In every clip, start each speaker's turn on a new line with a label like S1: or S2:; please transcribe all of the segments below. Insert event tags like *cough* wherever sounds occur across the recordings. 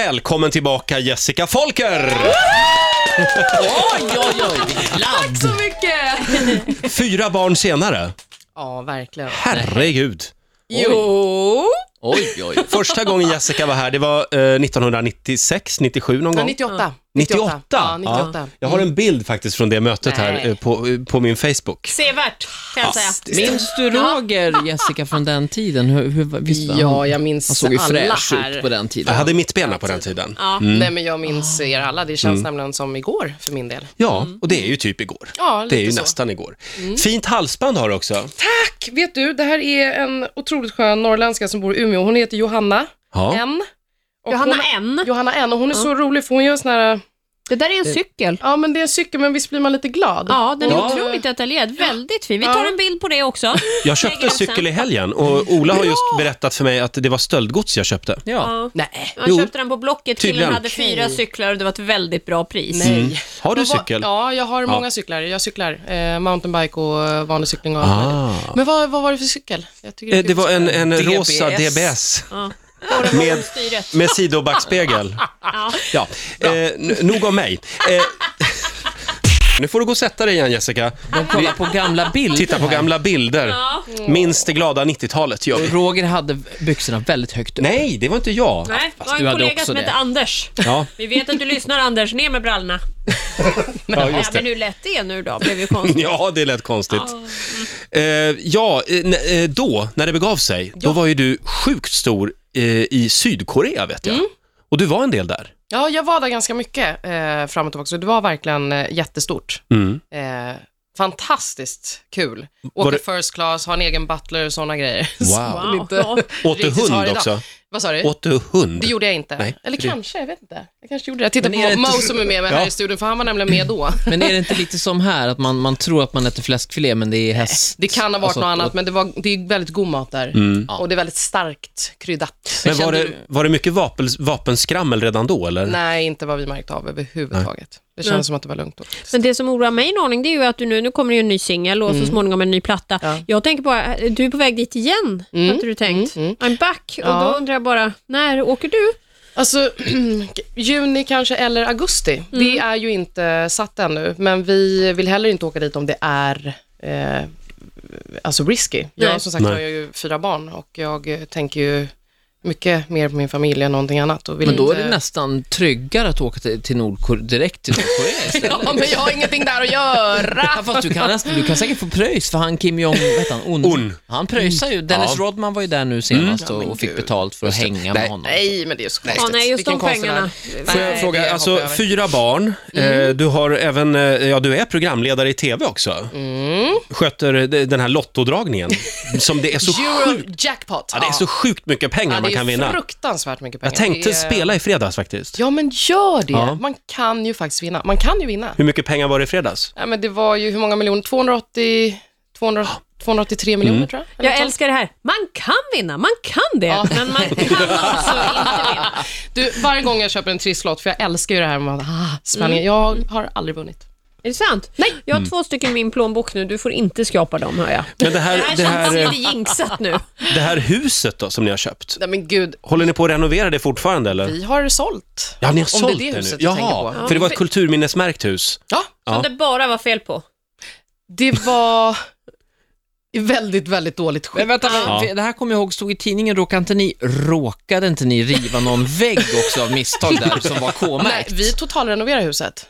S1: Välkommen tillbaka Jessica Folker!
S2: Oj, oj, oj, vilken ladd!
S3: mycket!
S1: Fyra barn senare.
S3: Ja, verkligen.
S1: Herregud.
S3: Jo!
S2: Oj, oj, oj.
S1: Första gången Jessica var här, det var eh, 1996, 97 någon
S3: Ja,
S1: gång.
S3: 98.
S1: 98?
S3: Ja, 98.
S1: Jag har en bild faktiskt från det mötet här
S3: Nej.
S1: eh, på, eh, på min Facebook.
S4: Sevärt, kan jag säga.
S2: Minns du Roger, Jessica, från den tiden? Hur, hur, visst, var
S3: Ja,
S2: han,
S3: jag minns
S2: han såg ju
S3: alla
S2: fräsch
S3: här.
S2: ut på den tiden.
S1: Jag hade mittbena på den tiden.
S4: Ja.
S3: Nej, men jag
S1: Ah.
S3: minns er alla. Det
S1: Mm.
S3: känns nämligen som igår för min del.
S1: Ja, och det är ju typ igår.
S3: Ja, lite
S1: Det är ju
S3: så. Mm.
S1: nästan igår. Fint halsband har du också.
S3: Tack! Vet du, det här är en otroligt skön norrländska som bor i Umeå. Hon heter Johanna
S1: Ja.
S3: N. Och
S4: Johanna
S3: hon,
S4: N.
S3: Johanna N. Och hon är så rolig för hon gör sån här,
S4: Det där är en cykel.
S3: ja men det är en cykel men visst blir man lite glad?
S4: Ja, den är
S1: Ja.
S4: otroligt detaljerad. Väldigt fin. Vi tar
S3: Ja.
S4: en bild på det också.
S1: Jag köpte en cykel i helgen och Ola har just berättat för mig att det var stöldgods jag köpte.
S2: Ja.
S4: Ja.
S3: Nej.
S4: Jag
S1: Jo,
S4: köpte den på Blocket.
S1: tydligen.
S4: Killen hade fyra cyklar och det var ett väldigt bra pris.
S3: Nej.
S1: Har du
S3: Men vad-
S1: cykel?
S3: Ja, jag har många cyklar. Jag cyklar eh, mountainbike och eh, vanlig cykling och allt möjligt.
S1: Ah.
S3: Men vad, vad var det för cykel? Jag tycker
S1: Eh,
S3: är
S1: Det var en, en
S2: DBS.
S1: rosa DBS.
S4: Ja.
S1: Med,
S4: Styret.
S1: med sidobackspegel.
S4: Ja.
S1: Ja. Eh, n- nog om mig. Eh, *laughs* nu får du gå och sätta dig igen Jessica.
S2: De kollar på gamla bilder.
S1: Titta på
S2: här.
S1: gamla bilder.
S4: Ja.
S1: Minns det glada 90-talet gör vi.
S2: Roger hade byxorna väldigt högt upp.
S1: Nej, det var inte jag.
S4: Nej, det var
S2: du
S4: en
S2: hade
S4: kollega
S2: också
S4: som
S2: det.
S4: hette Anders.
S1: Ja,
S4: Vi vet att du lyssnar Anders, ner med brallorna.
S1: ja
S4: Ja,
S1: just
S4: men
S1: det.
S4: hur lätt det är nu då, blev ju
S1: *laughs*
S4: konstigt.
S1: Ja, det lät konstigt. Eh, ja, eh, n- eh, då, när det begav sig, då var ju du sjukt stor eh, i Sydkorea vet jag. Och du var en del där.
S3: Ja, jag var där ganska mycket eh, fram och tillbaka, så det var verkligen eh, jättestort. Eh, fantastiskt kul. Åka
S1: det-
S3: first class, ha en egen butler och sådana grejer.
S1: Wow.
S3: Som man
S4: Wow. Ja.
S1: Åt du
S3: riktigt har
S1: hund
S3: idag.
S1: också?
S3: Vad sa du?
S1: Åt du hund?
S3: Det gjorde jag inte.
S1: Nej,
S3: Eller
S1: för det-
S3: kanske, jag vet inte. Jag kanske gjorde det. Jag tittar
S2: Men är det
S3: på
S2: inte
S3: Mo
S2: så-
S3: som är med mig här
S1: Ja.
S3: i studion, för han var nämligen med då.
S2: Men är det inte lite som här, att man, man tror att man äter fläskfilé, men det är häst?
S3: Det kan ha varit
S2: Alltså,
S3: något annat,
S2: och-
S3: men det, var, det är väldigt god mat där.
S1: Mm.
S3: Och det är väldigt starkt kryddat.
S1: Men var
S3: Kände
S1: det,
S3: du-
S1: var det mycket vapen, vapenskrammel redan då eller?
S3: Nej, inte vad vi märkte av överhuvudtaget. Det kändes
S4: Nej.
S3: som att det var lugnt. då.
S4: Men det som oroar mig en aning, det är ju att du nu, nu kommer det ju en ny singel och så småningom en ny platta.
S3: Ja.
S4: Jag tänker bara, du är på väg dit igen, hade du tänkt. I'm back. Och
S3: Ja.
S4: då undrar jag bara, när åker du?
S3: Alltså, *clears throat* juni kanske eller augusti. Det är ju inte satt ännu, men vi vill heller inte åka dit om det är eh, alltså risky.
S4: Nej.
S3: Jag som sagt
S1: Nej.
S3: har ju fyra barn och jag eh, tänker ju mycket mer på min familj än någonting annat. Och vill
S2: Men då är
S3: inte...
S2: det nästan tryggare att åka till, till Nordkorea, direkt till Nordkorea istället.
S3: *laughs* Ja, men jag har ingenting där att göra.
S2: Ja, fast du kan, nästan, du kan säkert få pröjs för han Kim Jong, vad heter han? Un.
S1: Un.
S2: Han pröjsar ju. Dennis
S1: Ja. Mm.
S2: Rodman var ju där nu senast och, och fick betalt för att hänga med
S1: Nej.
S2: honom.
S3: Nej, men det är så konstigt.
S4: Ja, nej, just
S3: Vilken
S4: de
S3: konstig
S4: pengarna.
S3: värld.
S1: Får jag
S3: Nej, det
S1: fråga,
S3: hoppar
S1: alltså
S3: jag Mm. över.
S1: fyra barn, eh, du har även, eh, ja du är programledare i TV också.
S3: Mm.
S1: Sköter eh, de- den här
S3: *laughs*
S1: lottodragningen, som det är så,
S3: Eurojackpot.
S1: ja, det är så sjukt mycket pengar
S3: Ja,
S1: man
S3: det är
S1: kan vinna.
S3: fruktansvärt mycket pengar.
S1: Jag tänkte
S3: Det är-
S1: spela i fredags faktiskt.
S3: Ja, men gör det.
S1: Ja.
S3: Man kan ju faktiskt vinna. Man kan ju vinna.
S1: Hur mycket pengar var det i fredags?
S3: Nej, men det var ju, hur många miljoner? 280, 200,
S2: Ah.
S3: 283 miljoner
S2: Mm.
S3: tror jag. eller
S4: Jag
S3: något
S4: älskar det här. Man kan vinna, man kan det, men *laughs* man kan också inte vinna.
S3: sånt. Du, varje gång jag köper en trisslott, för jag älskar ju det här med att, ah, spänningen. Jag har aldrig vunnit.
S4: Är det sant? Nej. Jag
S1: Mm.
S4: har två stycken i min plånbok nu, du får inte skrapa dem hör jag.
S1: Men det här,
S4: Det här
S1: det här,
S4: känns
S1: eh,
S4: lite jinxat nu.
S1: det här huset då, som ni har köpt,
S3: Nej men gud,
S1: håller ni på att renovera det fortfarande eller?
S3: vi har sålt.
S1: Ja, ni har
S3: Om
S1: sålt
S3: det
S1: det,
S3: är det
S1: nu.
S3: huset du
S1: Jaha,
S3: tänker på.
S1: för det var ett kulturminnesmärkt hus.
S3: Ja,
S1: Ja.
S4: Som det bara var fel på.
S3: det var i väldigt, väldigt dåligt
S2: Men
S3: skick.
S2: vänta,
S1: Ja.
S2: för det här kommer jag ihåg stod i tidningen, råkade inte ni, råkade inte ni riva någon vägg också av misstag där som var
S3: Nej,
S2: K-märkt?
S3: vi totalrenoverade huset.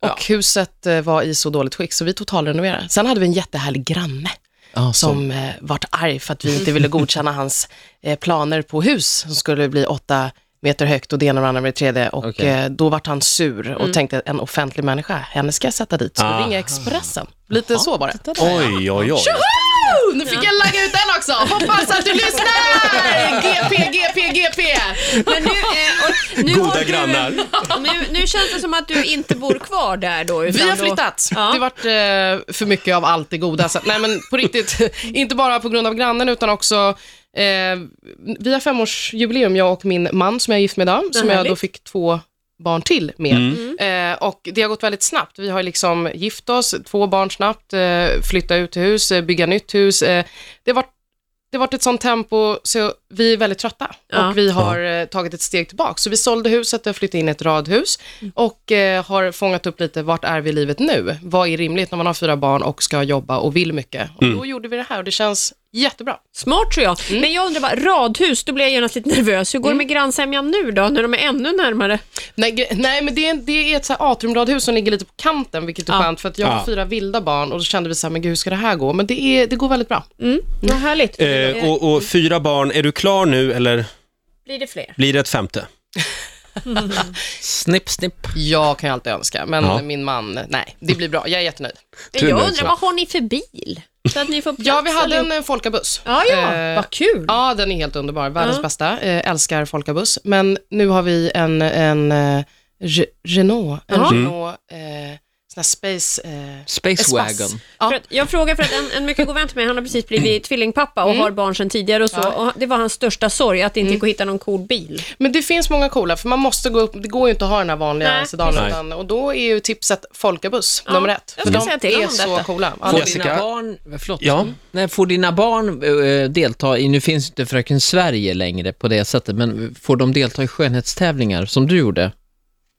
S3: Och huset eh, var i så dåligt skick, så vi totalrenoverade. Sen hade vi en jättehärlig granne.
S2: Ja, så.
S3: som eh, vart arg för att vi inte ville
S2: *laughs*
S3: godkänna hans eh, planer på hus som skulle bli åtta meter högt och det ena och det andra med det tredje. Och
S2: Okej.
S3: eh, då vart han sur och tänkte en offentlig människa, henne ska jag sätta dit. Så
S1: Ah.
S3: ringa Expressen. Lite så bara.
S1: Oj, oj, oj.
S3: Oh, nu fick jag lagga ut den också. Hoppas att du *laughs* lyssnar! GP, GP, GP.
S4: Men nu, eh, och nu
S1: Goda
S4: har du-
S1: grannar.
S4: Nu, nu känns det som att du inte bor kvar där då.
S3: Vi
S4: utan
S3: har
S4: då-
S3: flyttat.
S4: Ja.
S3: Det vart eh, för mycket av allt det goda. Så, nej men på riktigt, *laughs* inte bara på grund av grannen utan också eh, vi har femårsjubileum, jag och min man som jag är gift med idag, som jag då
S4: härligt.
S3: fick två barn till med. Eh, och det har gått väldigt snabbt. Vi har liksom gift oss, två barn snabbt, eh, flytta ut till hus, eh, bygga nytt hus. Eh, det har varit det har varit ett sånt tempo så vi är väldigt trötta
S4: Ja.
S3: och vi har eh, tagit ett steg tillbaka. Så vi sålde huset och flyttade in i ett radhus och eh, har fångat upp lite, vart är vi i livet nu? Vad är rimligt när man har fyra barn och ska jobba och vill mycket? Och då gjorde vi det här och det känns jättebra.
S4: Smart tror jag. Men jag undrar bara, radhus, då blir jag genast lite nervös. Hur går det med grannsämjan nu då, när de är ännu närmare?
S3: Nej, gre- nej men det är, det är ett så här atriumradhus som ligger lite på kanten, vilket är
S4: Ja.
S3: skönt, för att jag har
S1: Ja.
S3: fyra vilda barn och då kände vi så här, men gud, hur ska det här gå? Men det, är, det går väldigt bra.
S4: Mm. Vad härligt.
S1: Eh, och, och fyra barn, är du klar nu eller
S4: Blir det fler?
S1: blir det ett femte?
S2: Snipp, snipp.
S3: Jag kan ju alltid önska, men
S1: Ja.
S3: min man, nej, det blir bra. Jag är jättenöjd.
S4: Men
S1: Tur
S4: jag
S1: nu,
S4: undrar,
S1: så.
S4: vad har ni för bil? Så att ni får plats
S3: Ja, vi hade
S4: allihop.
S3: en eh, folkabuss.
S4: Ja, ja,
S3: Eh,
S4: vad kul.
S3: Ja, den är helt underbar. Världens
S4: Ja.
S3: bästa. Eh, älskar folkabuss. Men nu har vi en, en eh, Re- Renault, en
S4: Ja.
S3: Renault, eh,
S1: Mm.
S3: sån här space... Eh,
S2: Space
S3: Espace.
S2: Wagon.
S3: Ja.
S4: För att, jag frågar för att en, en mycket god vän till mig, han har precis blivit tvillingpappa och har barn sedan tidigare och så.
S3: Ja.
S4: Och det var hans största sorg, att det inte gick att hitta någon cool bil.
S3: Men det finns många coola, för man måste gå upp, det går ju inte att ha den här vanliga
S4: Nej,
S3: sedanen.
S1: precis.
S3: Utan, och då är ju tipset Folkabuss
S4: Ja,
S3: nummer ett.
S4: jag
S3: För
S4: ska
S3: de
S4: säga till
S3: är
S4: om
S3: så
S4: detta.
S3: coola. Ja,
S2: Får
S1: Jessica.
S2: dina barn, eh, förlåt,
S1: Ja.
S2: Nej, får dina barn eh, delta i, nu finns inte Fröken Sverige längre på det sättet, men får de delta i skönhetstävlingar som du gjorde?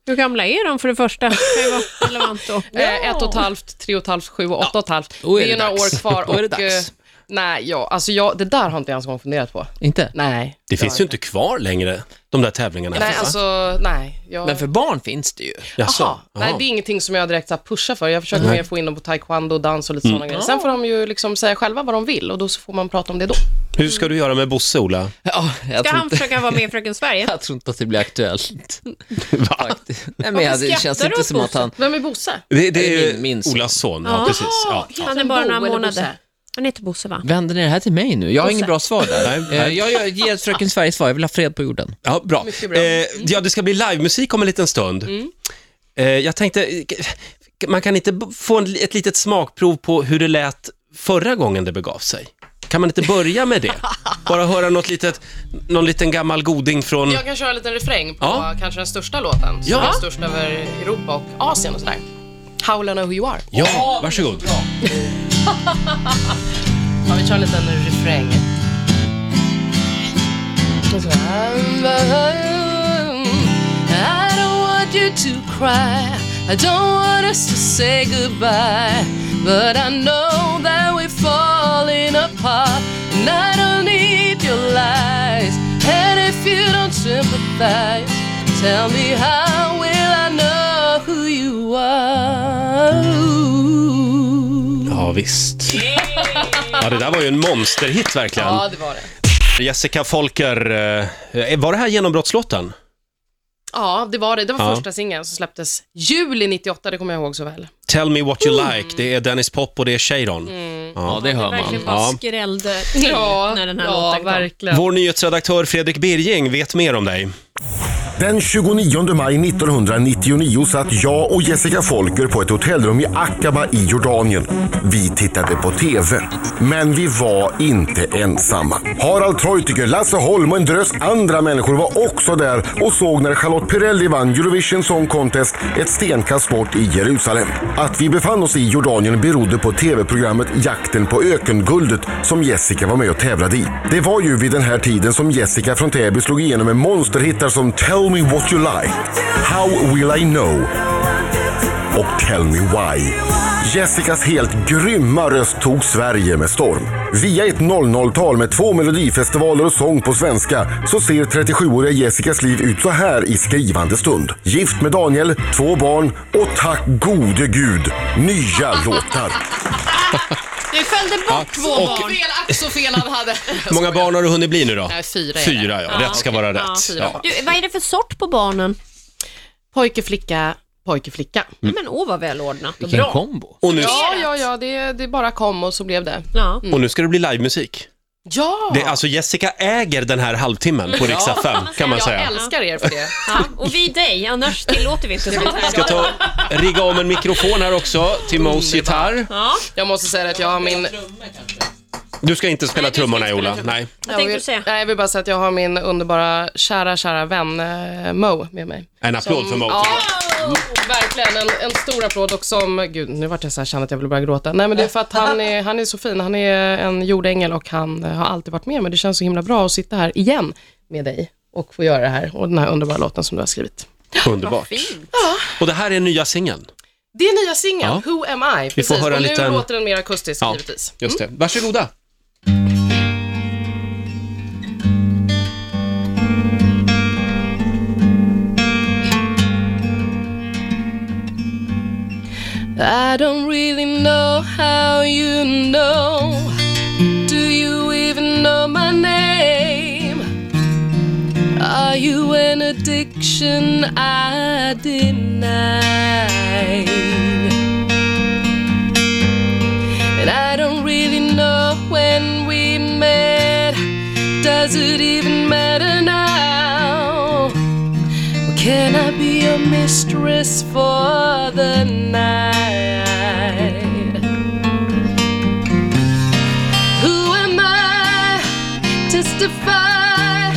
S4: Hur gamla är de för det första? Det kan *laughs* ju vara relevant då.
S3: Eh, ett och ett halvt, tre och ett halvt, sju och åtta och ett halvt.
S2: då är
S3: det är
S2: det
S3: ju några
S2: dags.
S3: år kvar.
S2: Då är det
S3: och,
S2: dags.
S3: eh, Nej, ja, alltså jag, det där har inte jag ens en gång funderat på.
S2: Inte?
S3: Nej.
S1: Det finns ju inte kvar längre, de där tävlingarna.
S3: Nej,
S1: va?
S3: alltså, nej. Jag...
S2: Men för alltså, barn finns det ju.
S1: Jaså?
S3: Jaha. Nej,
S1: Jaha.
S3: det är ingenting som jag direkt så här pushar för. Jag försöker mer få in dem på taekwondo, dans och lite
S2: Mm.
S3: sådana grejer. Sen får de ju liksom säga själva vad de vill och då så får man prata om det då.
S1: Hur ska du göra med Bosse, Ola?
S2: Ja, jag,
S4: Ska
S2: tror
S4: han
S2: inte,
S4: försöka vara med i Fröken Sverige?
S2: jag tror inte att det blir aktuellt. Faktiskt. Nej, men
S4: Varför
S2: jag, det känns
S4: skrattar du
S2: inte
S4: åt
S2: som att
S4: Bosse?
S2: han...
S3: Vem är Bosse?
S1: Det, det
S2: Det är
S1: är
S2: min- min son.
S1: Olas son. Ja,
S4: Jaha.
S1: precis. Ja.
S4: Han är bara
S3: Bo
S4: några
S3: eller
S4: månader.
S3: Bosse?
S4: Han heter Bosse va?
S2: Vänder ni det här till mig nu? Jag har
S4: Bosse.
S2: inget bra svar där.
S1: Nej, nej.
S2: Eh, Jag, jag ger ett Fröken Sverige svar, jag vill ha fred på jorden.
S1: Ja, bra.
S3: Mycket bra. Mm.
S1: Eh, ja, det ska bli livemusik om en liten stund. Eh, jag tänkte, eh, man kan inte b- få en, ett litet smakprov på hur det lät förra gången det begav sig? Kan man inte börja med
S3: *laughs*
S1: det? Bara höra något litet, någon liten gammal goding från...
S3: Jag kan köra en liten refräng på
S1: Mm. Ja.
S3: kanske den största låten, som
S1: Ja.
S3: är störst över Europa och Asien och sådär. Howl I know who you are.
S1: Ja, varsågod.
S3: Ja, vi kör en liten refräng. Så här. I don't want you to cry I don't want us to say goodbye But I know that we're falling apart And I don't need your lies And if you don't sympathize Tell me how will I know who you are
S1: Ja, visst. Ja, det där var ju en monsterhit verkligen.
S3: Ja, det var det.
S1: Jessica Folker, eh, var det här genombrottslåten?
S3: Ja, det var det. Det var
S1: Ja.
S3: första singeln som släpptes juli 98, det kommer jag ihåg så väl.
S1: Tell me what you like, det är Dennis Pop och det är Cheiron.
S2: Ja, det hör
S4: Verkligen
S2: man.
S4: bara
S1: Ja.
S4: skrällde till när den här låten kom.
S3: verkligen.
S1: Vår nyhetsredaktör Fredrik Birging vet mer om dig.
S5: Den 29 maj 1999 satt jag och Jessica Folker på ett hotellrum i Aqaba i Jordanien. Vi tittade på TV, men vi var inte ensamma. Harald Treutiger, Lasse Holm och en drös andra människor var också där och såg när Charlotte Perrelli vann Eurovision Song Contest ett stenkast bort i Jerusalem. Att vi befann oss i Jordanien berodde på TV-programmet Jakten på ökenguldet som Jessica var med och tävlade i. Det var ju vid den här tiden som Jessica från Täby slog igenom med monsterhittar som Tell me what you like, How will I know och Tell me why. Jessicas helt grymma röst tog Sverige med storm. Via ett 00-tal med två melodifestivaler och sång på svenska så ser 37-åriga Jessicas liv ut så här i skrivande stund. Gift med Daniel, två barn och tack gode gud, nya låtar.
S4: Du följde bort två barn.
S3: Fel, ack så fel han hade.
S1: *laughs* Hur många barn har du hunnit bli nu då?
S3: Nej, fyra är det.
S1: Fyra, ja. Rätt ska vara
S4: Ja,
S1: rätt.
S3: fyra
S1: Ja.
S3: barn.
S4: Du, vad är det för sort på barnen?
S3: Pojke, flicka, pojke, flicka.
S4: Men åh vad välordnat och
S2: Vilken
S4: bra.
S2: kombo.
S1: Och, nu,
S3: Ja, ja, ja, det, det bara kom och så blev det.
S4: Ja.
S1: och nu ska det bli livemusik.
S3: Ja!
S1: Det, alltså Jessica äger den här halvtimmen på Rix FM, kan man
S3: jag
S1: säga.
S3: älskar er
S1: *laughs*
S3: för det.
S4: Ja, och vi dig, annars tillåter vi inte sånt här.
S1: Ska ta rigga om en mikrofon här också till Mos gitarr.
S4: Ja,
S3: Jag måste säga att jag har min...
S1: Du ska inte spela
S4: Nej, du ska
S1: trummorna,
S4: inte spela
S1: Ola.
S4: trummor.
S1: Nej.
S4: vad
S3: jag
S4: tänkte
S3: vill,
S4: du säga?
S3: Nej, jag vill bara säga att jag har min underbara, kära, kära vän eh, Mo med mig.
S1: En applåd för Mo.
S3: Ja, Verkligen, en, en stor applåd och som, gud nu vart jag så här, känner att jag vill börja gråta. Nej men det är för att han är, han är så fin, han är en jordängel och han eh, har alltid varit med men det känns så himla bra att sitta här igen med dig och få göra det här och den här underbara låten som du har skrivit.
S1: *laughs* Underbart. Och det här är nya singeln.
S3: Det är nya singeln,
S1: Ja.
S3: Who am I? Precis,
S1: får höra
S3: och
S1: en
S3: nu
S1: liten-
S3: låter den mer akustisk
S1: Ja,
S3: givetvis.
S1: just det. Varsågoda.
S3: I don't really know how you know. Do you even know my name? Are you an addiction I deny? And I don't really know when we met. Does it even matter now? Or Can I be your mistress for the night? Who am I? Testify.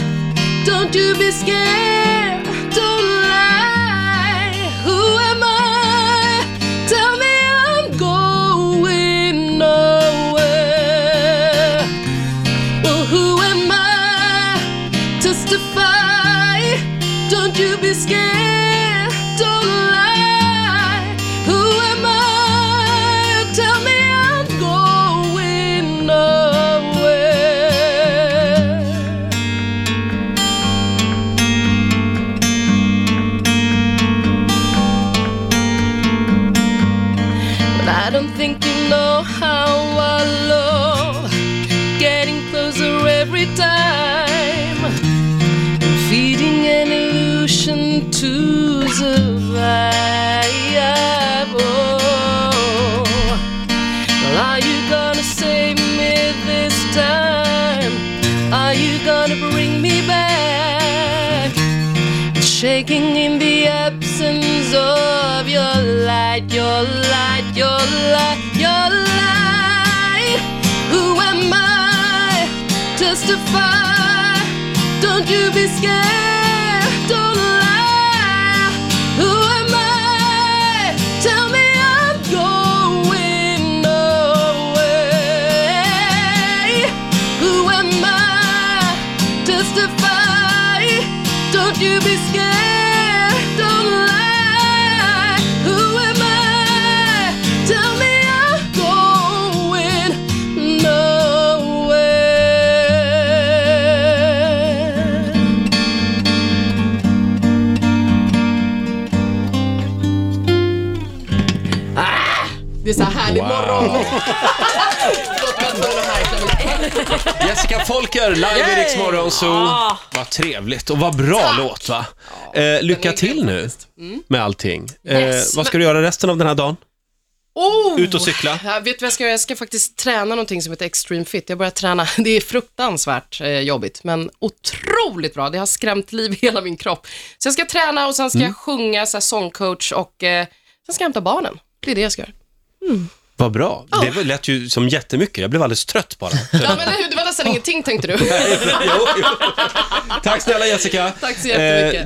S3: Don't you be scared. Don't lie. Who am I? Tell me I'm going nowhere. Well, who am I? Testify. Don't you be scared. Don't lie. Who am I? Tell me I'm going nowhere. But I don't think you know how I love getting closer every time. Feeding an illusion to survive. Oh. Well, are you gonna save me this time? Are you gonna bring me back? Shaking in the absence of your light, your light, your light, your light. Who am I? Testify. Don't you be scared. Don't lie. Who am I? Tell me I'm going nowhere. Who am I? Testify. Don't you be scared. Don't lie. Who am I? Tell me I'm going nowhere. Det är så härlig morgon.
S1: Jessica Folker, live i Rix Morgon Zoo. Vad trevligt och vad bra låt va? Eh, lycka till nu med allting. Eh,
S3: Yes,
S1: vad ska du göra resten av den här dagen?
S3: Oh!
S1: Ut och cykla?
S3: Jag vet du vad jag ska göra? Jag ska faktiskt träna någonting som heter extreme fit. Jag börjar träna. *laughs* Det är fruktansvärt eh, jobbigt, men otroligt bra. Det har skrämt liv i hela min kropp. Så jag ska träna och sen ska jag sjunga så här, sångcoach och eh, sen ska jag hämta barnen. Det är det jag ska göra.
S1: Vad bra. Det var- lät ju som jättemycket. Jag blev alldeles trött *laughs* bara.
S3: Ja, men *laughs* det- det var nästan ingenting tänkte du.
S1: jo, jo. Tack snälla Jessica. Eh,
S3: Tack så jättemycket.